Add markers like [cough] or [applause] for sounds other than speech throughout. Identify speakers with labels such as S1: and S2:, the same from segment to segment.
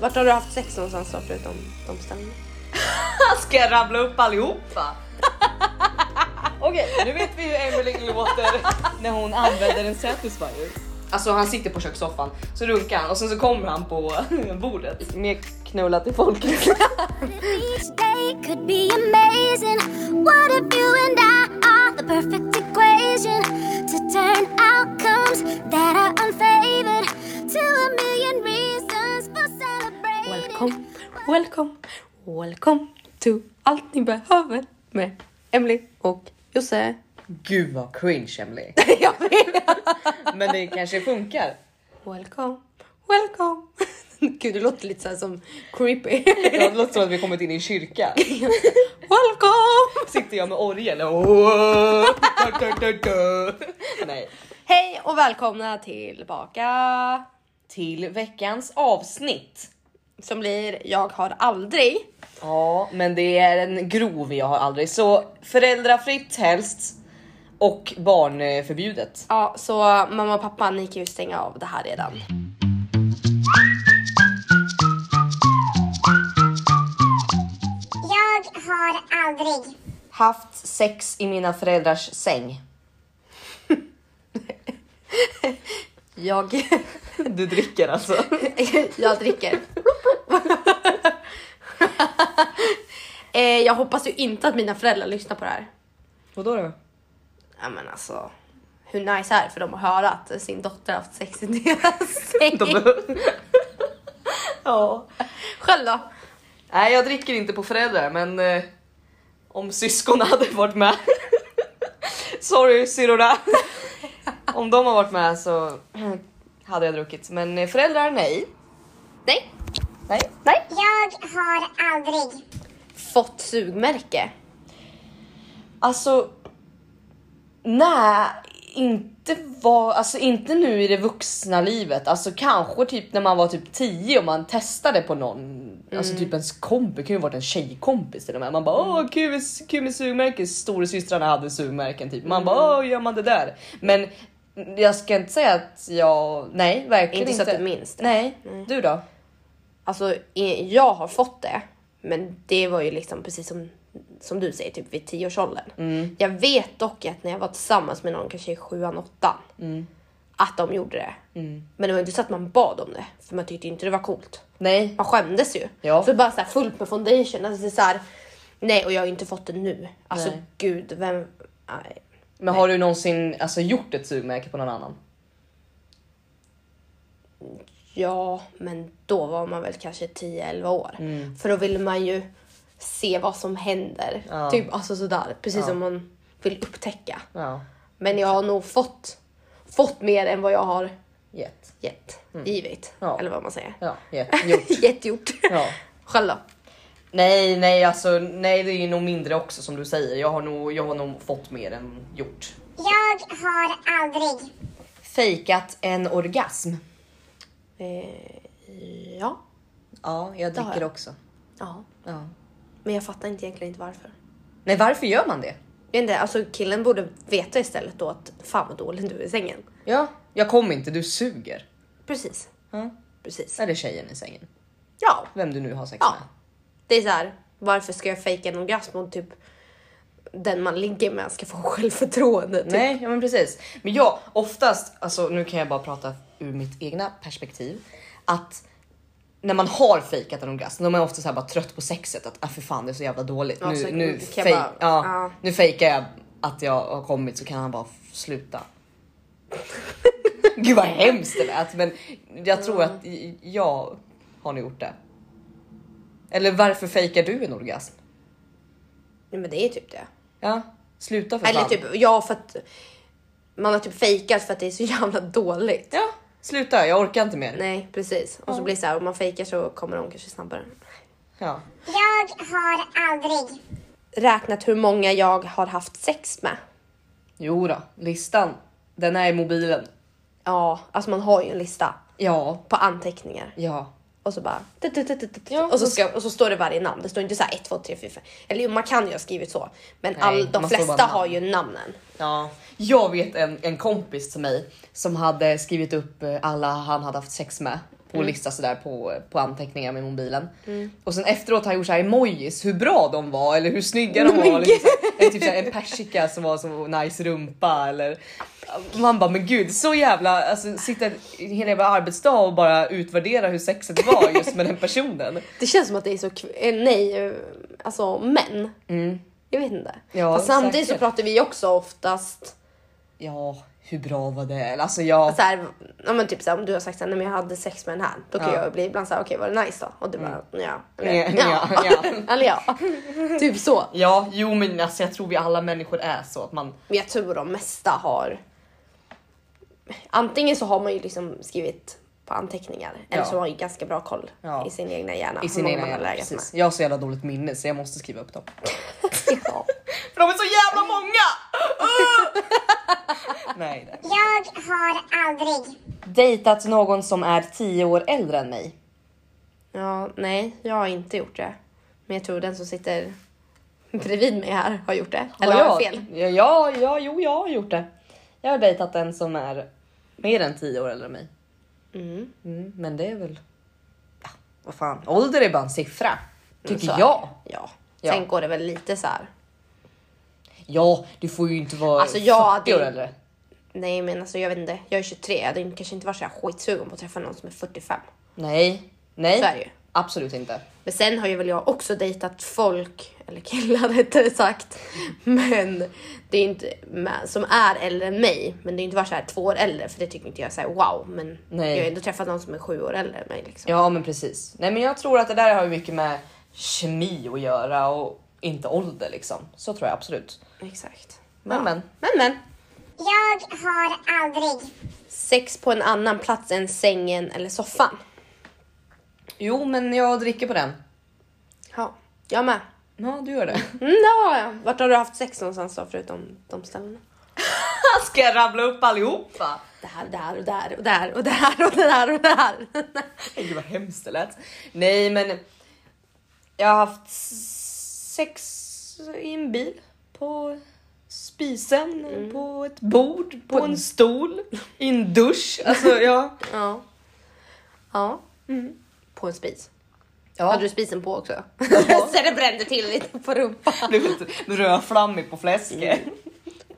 S1: Vart har du haft sex någonstans då förutom de ställena?
S2: Ska jag rabbla upp allihopa? [laughs]
S1: Okej.
S2: Nu vet vi hur Emily låter när hon använder en satisfier. Alltså han sitter på kökssoffan, så runkar han och sen så kommer han på [laughs] bordet.
S1: Mer knulla till folket.
S3: Each day could be amazing. What if you and I are the perfect equation to turn outcomes that are unfavored to a million reasons for celebrating?
S1: welcome, welcome, welcome to allt ni behöver med Emily och Josse.
S2: Gud vad cringe Emily.
S1: [laughs] Jag vet.
S2: Men det kanske funkar.
S1: Welcome, welcome. [laughs] Gud, det låter lite så här som [laughs] creepy.
S2: Det låter som att vi kommit in i en kyrka.
S1: welcome!
S2: Sitter jag med orgel [laughs] och... Nej.
S1: Hej och välkomna tillbaka
S2: Till veckans avsnitt.
S1: som blir Jag har aldrig.
S2: Ja, men det är en grov jag har aldrig. Så föräldrafritt helst och barnförbjudet.
S1: Ja, så mamma och pappa, ni kan ju stänga av det här redan.
S4: Jag har aldrig.
S2: Haft sex i mina föräldrars säng.
S1: Jag,
S2: Du dricker alltså?
S1: [laughs] jag dricker. eh, jag hoppas ju inte att mina föräldrar lyssnar på det här.
S2: Vadå då?
S1: Ja men alltså, hur nice är det för dem att höra att sin dotter har haft sex i deras säng?
S2: ja.
S1: Själv då?
S2: Nej, jag dricker inte på föräldrar, men eh, om syskon [laughs] hade varit med. Sorry syrrorna. om de har varit med så hade jag druckit, men eh, föräldrar nej.
S1: Nej.
S2: Nej.
S4: Jag har aldrig.
S1: Fått sugmärke?
S2: Alltså. Nej, inte var, alltså inte nu i det vuxna livet. Alltså kanske typ när man var typ 10 och man testade på någon. Alltså
S1: Mm.
S2: typ ens kompis, det kan ju ha varit en tjejkompis till och med. Man bara åh kul, med- kul med sugmärken, storasystrarna hade sugmärken typ. Man bara åh gör man det där? Men jag ska inte säga att jag, nej verkligen
S1: Inte
S2: inte.
S1: så att du minns det.
S2: Nej, du då?
S1: Alltså eh, jag har fått det, men det var ju liksom precis som, som du säger, typ vid 10-årsåldern.
S2: Mm.
S1: Jag vet dock att när jag var tillsammans med någon, kanske i sjuan, åttan,
S2: Mm.
S1: att de gjorde det. Men det var inte så att man bad om det, för man tyckte ju inte det var coolt.
S2: Nej.
S1: Man skämdes ju.
S2: Ja.
S1: För bara så här fullt med foundation, alltså det är så här, nej och jag har ju inte fått det nu. Alltså
S2: Nej.
S1: gud, vem... Nej.
S2: Men har du någonsin alltså, gjort ett sugmärke på någon annan?
S1: Ja, men då var man väl kanske 10-11 år.
S2: Mm.
S1: För då vill man ju se vad som händer.
S2: Ja.
S1: Typ alltså sådär, precis som man vill upptäcka.
S2: Ja.
S1: Men jag har nog fått, fått mer än vad jag har
S2: Gett.
S1: gett, givit.
S2: Mm. Ja.
S1: Eller vad man säger. [laughs]
S2: Ja, gett. Gjort.
S1: Gett gjort.
S2: Ja.
S1: Själv då?
S2: Nej, nej, alltså nej, det är nog mindre också som du säger. Jag har nog, jag har nog fått mer än gjort.
S4: Jag har aldrig.
S2: Fejkat en orgasm.
S1: Eh, ja.
S2: Ja,
S1: har
S2: jag dricker
S1: jag.
S2: också.
S1: ja.
S2: Ja.
S1: Men jag fattar inte egentligen inte varför.
S2: Nej, varför gör man det?
S1: Jag vet inte, alltså killen borde veta istället då att fan vad dålig du är i sängen.
S2: Ja, jag kom inte. Du suger.
S1: Precis.
S2: Ja.
S1: Precis.
S2: Eller tjejen i sängen.
S1: Ja.
S2: Vem du nu har sex
S1: Ja.
S2: med.
S1: Det är så här, varför ska jag fejka en orgasm om typ den man ligger med ska få självförtroende? Typ.
S2: Nej, ja, men precis. Men jag oftast, alltså nu kan jag bara prata ur mitt egna perspektiv, att när man har fejkat en orgasm, då är man ofta så här bara trött på sexet. Att ah, för fan det är så jävla dåligt.
S1: Ja,
S2: nu,
S1: så
S2: nu,
S1: kan jag
S2: fej-
S1: bara-
S2: ja,
S1: ja.
S2: nu fejkar jag att jag har kommit så kan han bara f- sluta. Gud vad hemskt det lät. Men jag tror att
S1: Mm.
S2: i- jag har nog gjort det. Eller varför fejkar du en orgasm?
S1: Nej, men det är typ det.
S2: Ja, sluta för
S1: Eller
S2: fan.
S1: typ, ja för att man har typ fejkat för att det är så jävla dåligt.
S2: Ja, sluta. Jag orkar inte mer.
S1: Nej precis. Och så blir det så här, om man fejkar så kommer de kanske snabbare.
S2: Ja.
S4: Jag har aldrig.
S1: Räknat hur många jag har haft sex med.
S2: Jo då, listan. Den är i mobilen.
S1: Ja, alltså man har ju en lista
S2: Ja,
S1: på anteckningar.
S2: ja.
S1: Och så bara... tut, tut, tut, tut, tut.
S2: Ja,
S1: och, så ska, och så står det varje namn. Det står inte så här 1, 2, 3, 4, 5. Eller jo, man kan ju ha skrivit så. Men all, de
S2: man står bara
S1: flesta
S2: namn.
S1: har ju namnen.
S2: ja. Jag vet en, en kompis till mig som hade skrivit upp eh, alla han hade haft sex med på lista sådär på, på anteckningar med mobilen. Och sen efteråt har jag gjort såhär emojis, hur bra de var eller hur snygga de var. Liksom. Eller typ såhär, en persika som var så nice rumpa eller man bara men gud så jävla, alltså sitta en hel jävla arbetsdag och bara utvärdera hur sexet var just med den [laughs] personen.
S1: Det känns som att det är så, kv- eh, nej, eh, alltså män. Jag vet inte.
S2: Mm. Ja,
S1: Fast samtidigt
S2: säkert.
S1: så pratar vi också oftast
S2: Ja, hur bra var det? Eller, Alltså jag...
S1: så här, ja, men typ så här, om du har sagt så här, nej men jag hade sex med den här. Då kan
S2: Ja. Mm.
S1: jag bli ibland såhär, okej var det nice då? Och du bara, ja.
S2: Ja,
S1: Eller,
S2: ja,
S1: ja.
S2: ja.
S1: [laughs] Eller ja. Typ så.
S2: Ja, jo men alltså jag tror vi alla människor är så att man...
S1: Men jag tror de mesta har... Antingen så har man ju liksom skrivit på anteckningar eller
S2: Ja.
S1: så har man ju ganska bra koll
S2: Ja.
S1: i sin egna hjärna.
S2: I
S1: hur
S2: sin
S1: många
S2: egna
S1: man har
S2: hjärna,
S1: legat
S2: precis. Jag har så jävla dåligt minne så jag måste skriva upp dem.
S1: med. [laughs] Ja.
S2: För de är så jävla många! Ah! [laughs] Nej, nej.
S4: Jag har aldrig.
S2: Dejtat någon som är 10 år äldre än mig.
S1: ja, nej, jag har inte gjort det. Men jag tror den som sitter bredvid mig här har gjort det. Eller har jag fel?
S2: Ja, ja, ja, jo jag har gjort det. Jag har dejtat en som är mer än 10 år äldre än mig.
S1: Mm.
S2: Mm, men det är väl... Ja, vad fan. Ålder är bara en siffra. Tycker
S1: Mm, Så är
S2: jag.
S1: det. Ja.
S2: Ja.
S1: Sen går det väl lite så här.
S2: Ja, du får ju inte vara
S1: Alltså, jag
S2: 40
S1: hade ju-
S2: år äldre.
S1: Nej men alltså jag vet inte, jag är 23, jag hade kanske inte varit så här skitsugen på att träffa någon som är 45.
S2: Nej, nej.
S1: Så är det ju.
S2: Absolut inte.
S1: Men sen har ju väl jag också dejtat folk, eller killar [laughs] rättare sagt, men det är ju inte med, som är äldre än mig. Men det är ju inte varit så här två år äldre för det tycker inte jag är så här wow. Men
S2: Nej.
S1: jag har ju ändå träffat någon som är sju år äldre än mig. Liksom.
S2: Ja, men precis. Nej, men jag tror att det där har ju mycket med kemi att göra och inte ålder liksom. Så tror jag absolut.
S1: Exakt.
S2: Men, men.
S1: Men men.
S4: Jag har aldrig.
S1: Sex på en annan plats än sängen eller soffan.
S2: Jo, men jag dricker på den.
S1: Ja, jag med.
S2: Ja, du [laughs] gör det.
S1: Mm, det har jag. Vart har du haft sex någonstans då förutom de ställena?
S2: Ska jag rabbla upp allihopa?
S1: Där, där och där och där och där och där och där.
S2: Gud vad hemskt det lät. Nej, men jag har haft sex i en bil på spisen, på ett bord, Mm. på, en stol, i en dusch. Alltså, [laughs] ja.
S1: [laughs] Ja. Ja. Mm. På en spis.
S2: ja.
S1: Hade du spisen på också? [laughs] Så det brände till lite på rumpan.
S2: blev lite rödflammig på fläsket.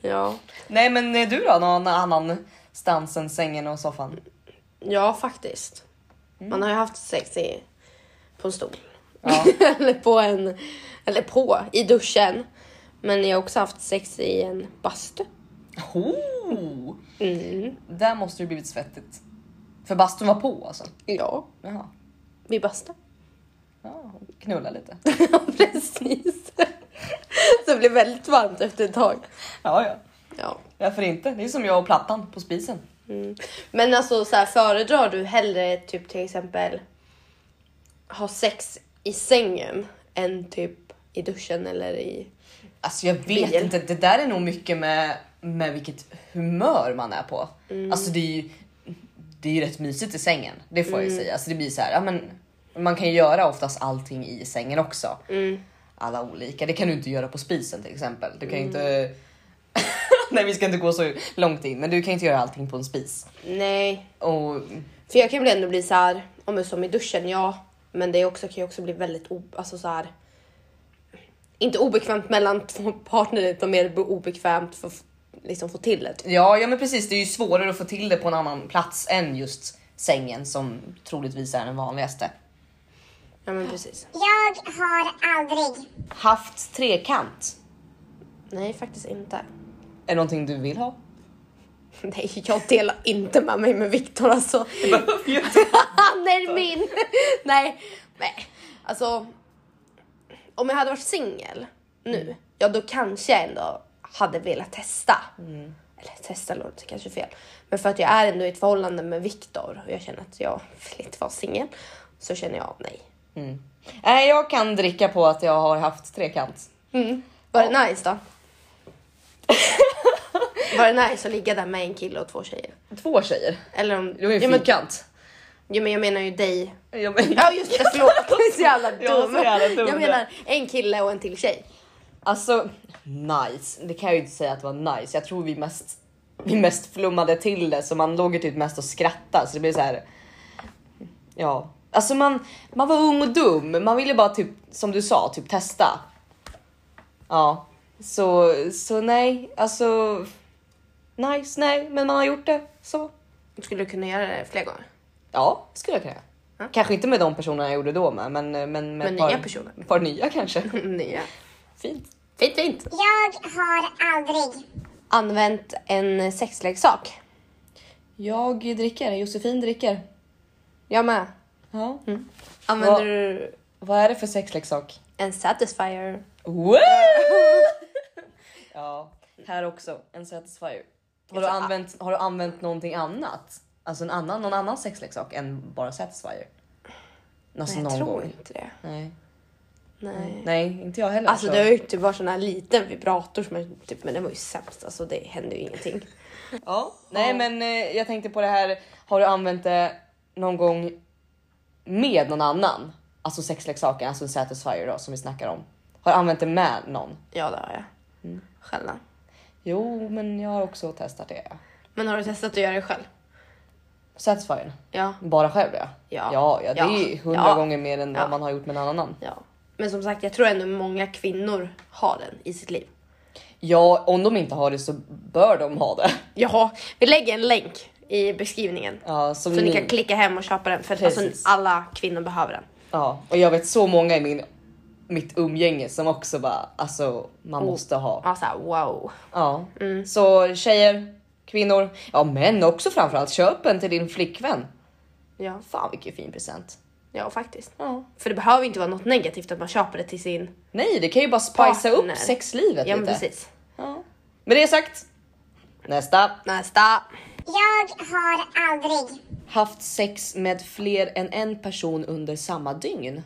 S1: Ja.
S2: Nej men eh, du då, någon annan stans än sängen och soffan?
S1: ja, faktiskt. Man har ju haft sex i, på en stol.
S2: Ja.
S1: [laughs] eller på en... Eller på, i duschen. Men jag har också haft sex i en bastu.
S2: Oh,
S1: Mm.
S2: där måste det ju blivit svettigt. För bastun var på alltså?
S1: Ja,
S2: Jaha.
S1: vi bastade.
S2: Ja, knulla lite.
S1: [laughs] Ja, precis. Så det blev väldigt varmt efter ett tag.
S2: Ja, ja.
S1: Ja.
S2: Varför inte? Det är som jag och plattan på spisen.
S1: Men alltså så här, föredrar du hellre typ till exempel ha sex i sängen än typ i duschen eller i...
S2: Alltså jag vet
S1: Bil.
S2: inte, det där är nog mycket med, med vilket humör man är på. Alltså det är ju, det är ju rätt mysigt i sängen, det får jag ju säga. Alltså det blir så här, ja, men man kan ju göra oftast allting i sängen också. Alla olika, det kan du inte göra på spisen till exempel. Du kan ju inte... [laughs] Nej vi ska inte gå så långt in men du kan ju inte göra allting på en spis.
S1: Nej,
S2: Och
S1: för jag kan väl ändå bli så här, om det är som i duschen, ja. Men det är också, kan ju också bli väldigt o, alltså så här, inte obekvämt mellan två partner utan mer obekvämt för att f- liksom få till det.
S2: ja, ja men precis det är ju svårare att få till det på en annan plats än just sängen som troligtvis är den vanligaste.
S1: Ja men precis.
S4: Jag har aldrig.
S2: Haft trekant.
S1: Nej faktiskt inte. [laughs]
S2: Är det någonting du vill [laughs] ha?
S1: Nej jag delar inte med mig med Viktor alltså. Han är min! [laughs] Nej, nej. Alltså, om jag hade varit singel nu, ja då kanske jag ändå hade velat testa. Mm. Eller testa låter kanske fel. Men för att jag är ändå i ett förhållande med Viktor och jag känner att jag vill inte vara singel. Så känner jag nej.
S2: Nej, jag kan dricka på att jag har haft trekant.
S1: Var det nice [laughs] då? Var det nice att ligga där med en kille och två tjejer?
S2: Två tjejer.
S1: Eller om...
S2: Det var ju
S1: ja, men,
S2: fyrkant.
S1: ja, men jag menar ju dig.
S2: Ja, men,
S1: Ja just det, förlåt. [laughs] Jag är så jävla dum.
S2: Jag var så jävla dum
S1: jag menar en kille och en till tjej.
S2: alltså, nice. Det kan jag ju inte säga att det var nice. Jag tror vi mest, vi mest flummade till det så man låg ju typ mest och skrattade så det blir så här. Ja, alltså man, man var ung och dum. Man ville bara typ som du sa, typ testa. Ja, så så nej, alltså. Nice, nej, men man har gjort det så.
S1: Skulle du kunna göra det fler [laughs] gånger?
S2: Ja, skulle jag kunna.
S1: Ja.
S2: Kanske inte med de personerna jag gjorde då med, men men med,
S1: Med
S2: ett par,
S1: nya personer.
S2: ett par nya kanske.
S1: Nya.
S2: Fint.
S1: Fint fint.
S4: Jag har aldrig.
S1: Använt en sexleksak.
S2: Jag dricker, Josefin dricker.
S1: Jag med.
S2: Ja.
S1: Mm. Använder
S2: Vad-
S1: du
S2: Vad är det för sexleksak?
S1: en satisfier?
S2: Woo! [laughs] ja, här också. En satisfier. Har du,
S1: Jag tror-
S2: använt, har du använt någonting annat? Alltså en annan, någon annan sexleksak än bara satisfier? Alltså
S1: Nej, jag
S2: någon
S1: tror
S2: gång.
S1: inte det.
S2: Nej.
S1: Nej.
S2: Nej, inte jag heller.
S1: Alltså
S2: tror
S1: det
S2: jag.
S1: har ju typ varit sån här liten vibrator som jag, typ, men den var ju sämst. Alltså det hände ju ingenting.
S2: Ja. Nej, men eh, jag tänkte på det här. Har du använt det någon gång med någon annan? Alltså sexleksaken, alltså en satisfier då som vi snackar om. Har du använt det med någon?
S1: [laughs] Ja det har jag. Sällan.
S2: Jo, men jag har också testat det.
S1: Men har du testat att göra det själv?
S2: Satisfier.
S1: Ja.
S2: Bara själv ja.
S1: Ja.
S2: ja, ja det
S1: Ja.
S2: är ju hundra
S1: Ja.
S2: gånger mer än
S1: Ja.
S2: vad man har gjort med en annan.
S1: ja. Men som sagt jag tror ändå många kvinnor har den i sitt liv.
S2: Ja, om de inte har det så bör de ha det. [laughs]
S1: Jaha, vi lägger en länk i beskrivningen.
S2: Ja, som
S1: Så ni
S2: ni-
S1: kan klicka hem och köpa den för alltså,
S2: Precis.
S1: alla kvinnor behöver den.
S2: Ja, och jag vet så många i min, mitt umgänge som också bara alltså man
S1: Oh.
S2: måste ha.
S1: Ja, så här, wow.
S2: Ja,
S1: Mm.
S2: så tjejer, kvinnor, ja män också framförallt. Köp en till din flickvän.
S1: Ja,
S2: Fan vilken fin present.
S1: ja faktiskt.
S2: Ja.
S1: För det behöver inte vara något negativt att man köper det till sin...
S2: Nej, det kan ju bara spicea
S1: Partner.
S2: upp sexlivet
S1: Ja men
S2: lite.
S1: precis.
S2: Ja. Med det sagt, nästa.
S1: Nästa!
S4: Jag har aldrig.
S2: Haft sex med fler än en person under samma dygn.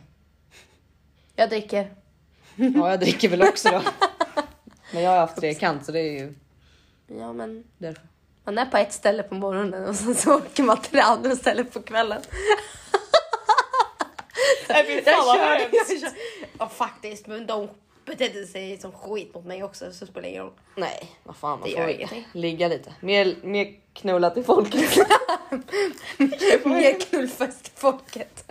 S1: Jag dricker.
S2: Ja, jag dricker väl också
S1: [laughs]
S2: då. Men jag har haft trekant så det är ju
S1: Ja men
S2: därför.
S1: man är på ett ställe på morgonen och sen så åker man till det andra stället på kvällen.
S2: Nej,
S1: Jag kör, jag kör. Ja faktiskt men de betedde sig som skit mot mig också så spelar det ingen roll.
S2: Nej, vad fan man
S1: Det
S2: får
S1: gör
S2: väl
S1: ingenting.
S2: ligga lite. Mer, mer knulla
S1: [laughs]
S2: till folket.
S1: Mer knullfest i folket.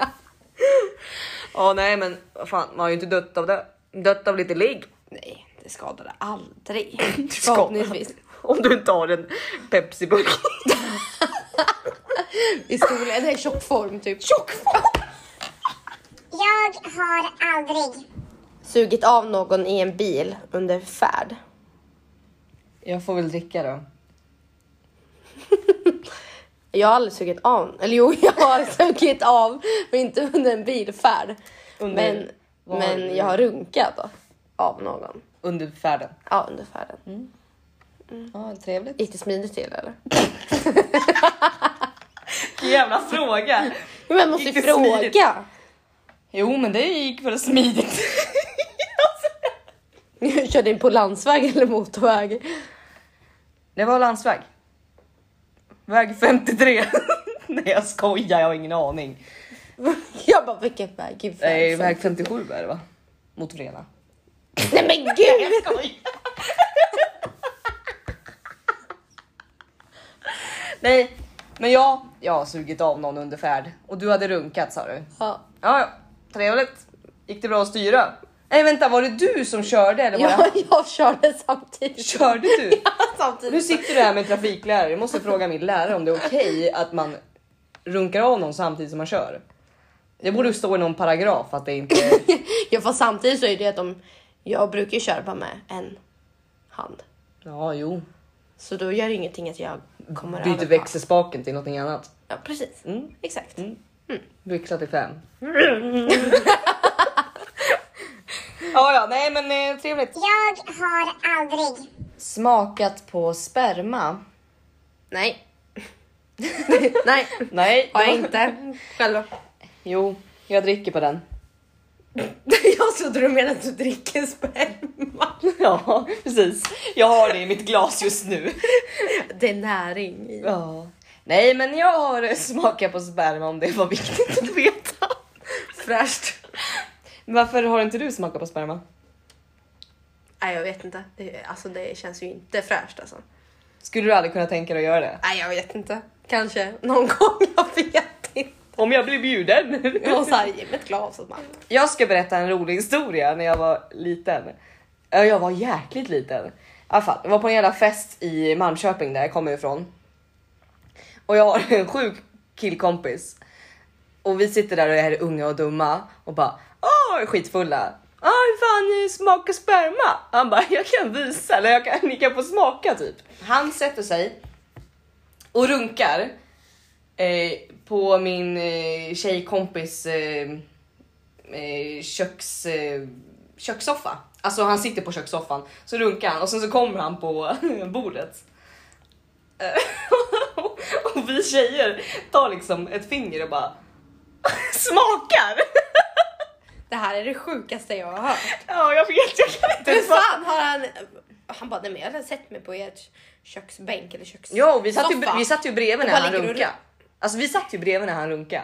S2: Ja nej men vad fan man har ju inte dött av det. Dött av lite ligg. [laughs]
S1: Nej det skadade aldrig.
S2: skadar.
S1: Förhoppningsvis.
S2: Om du inte har en Pepsi-burk.
S1: I skolan, nej tjock form typ.
S2: Tjock fan!
S4: Jag har aldrig.
S1: Sugit av någon i en bil under färd.
S2: Jag får väl dricka då.
S1: Jag har aldrig sugit av, eller jo [laughs] jag har sugit av men inte under en bilfärd.
S2: Under-
S1: men
S2: vad har
S1: men
S2: du-
S1: jag har runkat då, av någon.
S2: Under färden.
S1: Ja under färden.
S2: Mm. Ja trevligt.
S1: Gick det smidigt till eller?
S2: Jävla fråga.
S1: Jo, Men jag måste
S2: Gick
S1: ju
S2: det
S1: fråga.
S2: smidigt?
S1: [laughs]
S2: Jo men det gick väl [laughs] smidigt.
S1: Körde in på landsväg eller motorväg? [laughs]
S2: Det var landsväg. Väg 53. [laughs] Nej jag skojar, jag har ingen aning.
S1: Jag bara vilken väg? Gud,
S2: Nej,
S1: väg.
S2: väg 57 är det va? Mot Vrena.
S1: Nej men
S2: [laughs]
S1: gud!
S2: Nej, men jag, jag har sugit av någon under färd och du hade runkat sa du.
S1: Ja.
S2: Ja, ja, trevligt. Gick det bra att styra? Nej vänta, var det du som körde eller var det
S1: Jag,
S2: han?
S1: jag körde samtidigt.
S2: [laughs] Körde du?
S1: samtidigt.
S2: Nu sitter du här med en trafiklärare. Jag måste fråga min lärare om det är okej att man runkar av någon samtidigt som man kör. Det borde stå i någon paragraf att det inte är...
S1: Ja fast samtidigt så är det att de, jag brukar ju köra bara med en hand.
S2: Ja, jo.
S1: Så då gör det ingenting att jag kommer
S2: Byter
S1: på-
S2: växelspaken till någonting annat.
S1: Ja precis, exakt.
S2: Byxla till fem. [laughs] ja, ja, nej men eh, trevligt.
S4: Jag har aldrig.
S2: Smakat på sperma?
S1: Nej. [laughs] Nej,
S2: Nej,
S1: har [laughs] jag inte. [laughs] Själv då?
S2: Jo, jag dricker på den. [laughs]
S1: Jag trodde du menade att du dricker sperma. [laughs]
S2: Ja, precis. Jag har det i mitt glas just nu.
S1: Det är näring i.
S2: [laughs] Ja. Nej, men jag har eh, smakat på sperma om det var viktigt att veta.
S1: Fräscht.
S2: Varför har inte du smakat på sperma?
S1: Nej jag vet inte. Det, alltså det känns ju inte fräscht alltså.
S2: Skulle du aldrig kunna tänka dig att göra det?
S1: [laughs] Nej jag vet inte. Kanske någon gång, jag vet inte.
S2: Om jag blir bjuden.
S1: Och så här, ge mig ett glas. Och man,
S2: Jag ska berätta en rolig historia när jag var liten. Ja, Jag var jäkligt liten. I alla fall, jag var på en jävla fest i Malmköping där jag kommer ifrån. Och jag har en sjuk killkompis. Och vi sitter där och är unga och dumma och bara åh är skitfulla. Åh hur fan ni smakar sperma? Han bara jag kan visa eller jag kan, ni kan få smaka typ. Han sätter sig och runkar eh, på min eh, tjejkompis eh, eh, köks, eh, kökssoffa. Alltså han sitter på kökssoffan så runkar han och sen så kommer han på [laughs] bordet. Eh, [laughs] och vi tjejer tar liksom ett finger och bara [laughs] smakar. [laughs]
S1: det här är det sjukaste jag har hört.
S2: ja jag vet, jag kan inte.
S1: Hur fan har han... Han bara, nej men jag har sett mig på ert köksbänk eller köks...
S2: Ja och vi satt, ju,
S1: soffa."
S2: vi satt ju bredvid
S1: Och
S2: när
S1: bara
S2: han
S1: ligger och
S2: runkade. Alltså vi satt ju bredvid när han runkade.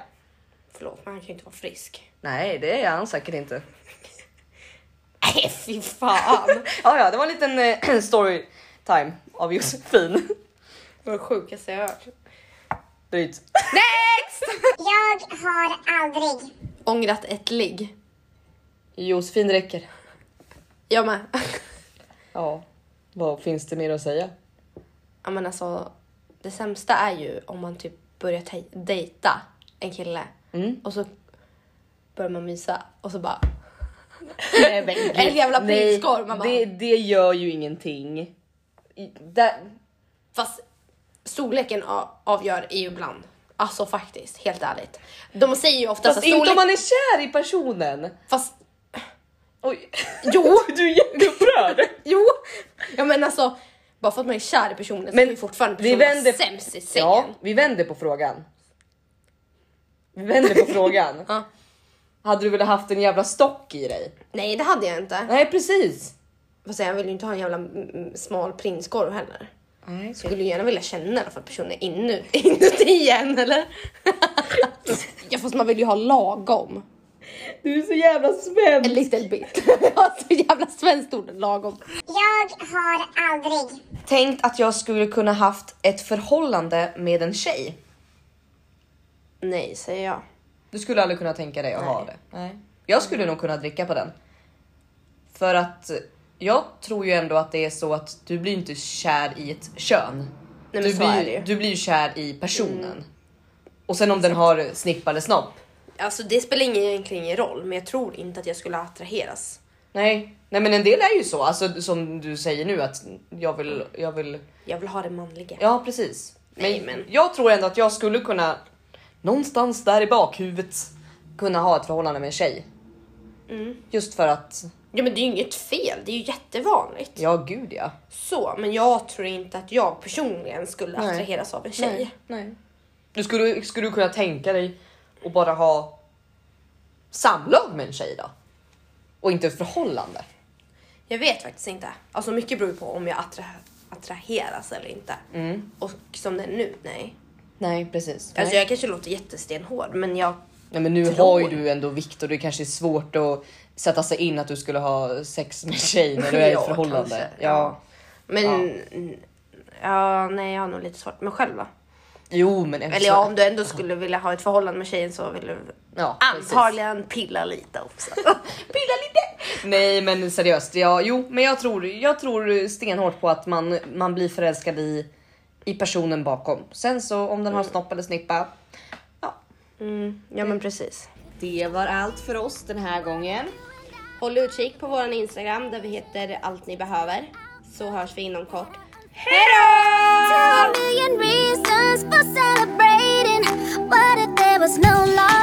S1: Förlåt men han kan ju inte vara
S2: [laughs]
S1: frisk.
S2: Nej det är han säkert inte.
S1: Nej fy fan.
S2: Ja ja det var en liten eh, [clears throat] story time av Josefin. [laughs]
S1: Det var det sjukaste jag har hört.
S2: Bryt.
S1: Next!
S4: Jag har aldrig.
S1: Ångrat ett ligg.
S2: Josefin räcker.
S1: Jag med.
S2: Ja, vad finns det mer att säga?
S1: [laughs] ja men alltså, det sämsta är ju om man typ börjar tej- dejta en kille
S2: Mm.
S1: och så börjar man mysa och så bara
S2: Nej, men gud.
S1: En jävla
S2: Nej,
S1: prinskorv, mamma.
S2: Det, det gör ju ingenting. I- Där,
S1: Fast storleken a- avgör är ju ibland. Alltså faktiskt, helt ärligt. De säger ju oftast
S2: fast
S1: att
S2: inte
S1: Alltså, storlek...
S2: om man är kär i personen.
S1: Fast
S2: Oj.
S1: [laughs] Jo.
S2: du är [laughs] jätteupprörd.
S1: jo! Ja men alltså, bara för att man är kär i personen så är
S2: Men
S1: ju fortfarande
S2: vi
S1: personen
S2: vänder-
S1: sämst i sängen.
S2: ja, vi vänder på frågan. Vi vänder
S1: [laughs]
S2: på frågan.
S1: Ja.
S2: Hade du velat haft en jävla stock i dig?
S1: Nej det hade jag inte.
S2: Nej precis.
S1: Fast jag vill ju inte ha en jävla mm, mm, smal prinskorv heller.
S2: Nej,
S1: Jag skulle ju gärna vilja känna i alla fall personen inu- [laughs] inuti en eller? [laughs] ja fast man vill ju ha lagom.
S2: Du är så jävla
S1: A
S2: spänd.
S1: little bit. [laughs] alltså jävla svenskt ord, lagom.
S4: Jag har aldrig.
S2: Tänkt att jag skulle kunna haft ett förhållande med en tjej.
S1: Nej säger jag.
S2: Du skulle aldrig kunna tänka dig att ha det? Nej. Jag skulle nog kunna dricka på den. För att jag tror ju ändå att det är så att du blir inte kär i ett kön.
S1: men
S2: du,
S1: så
S2: blir,
S1: är det ju. Mm.
S2: du blir ju kär i personen. Och sen om den har snipp eller snopp.
S1: Alltså det spelar ingen, egentligen ingen roll men jag tror inte att jag skulle attraheras.
S2: Nej. Nej men en del är ju så, alltså, som du säger nu att jag vill, jag vill
S1: Jag vill ha det manliga.
S2: Ja precis. Men,
S1: Nej, men-
S2: jag tror ändå att jag skulle kunna någonstans där i bakhuvudet kunna ha ett förhållande med en tjej.
S1: Mm.
S2: Just för att,
S1: Ja men det är ju inget fel, det är ju jättevanligt.
S2: ja gud ja.
S1: Så, men jag tror inte att jag personligen skulle attraheras av en tjej.
S2: Nej. Du skulle, skulle du kunna tänka dig att bara ha samlag med en tjej då? Och inte ett förhållande?
S1: Jag vet faktiskt inte. Alltså mycket beror ju på om jag attra attraheras eller inte. Och som det är nu, nej.
S2: Mm. Nej precis.
S1: Alltså
S2: Nej.
S1: jag kanske låter jättestenhård men jag...
S2: Nej, men nu
S1: tror-
S2: har ju du ändå vikt och det kanske är svårt att sätta sig in att du skulle ha sex med en tjej när du är i ett
S1: Ja,
S2: förhållande.
S1: kanske.
S2: Ja.
S1: Men... Ja. ja, nej jag har nog lite svårt med själva.
S2: Jo men alltså-
S1: Eller ja, om du ändå skulle vilja ha ett förhållande med tjejen så vill du
S2: Ja, precis.
S1: antagligen pilla lite också.
S2: [laughs] Pilla lite! Nej men seriöst, ja, jo men jag tror, jag tror stenhårt på att man, man blir förälskad i, i personen bakom. Sen så om den har snopp eller snippa. Ja.
S1: ja men precis.
S2: Det var allt för oss den här gången.
S1: Håll utkik på våran Instagram där vi heter allt ni behöver. Så hörs vi inom kort. Hejdå!
S3: Two million reasons for celebrating. What if there was no law?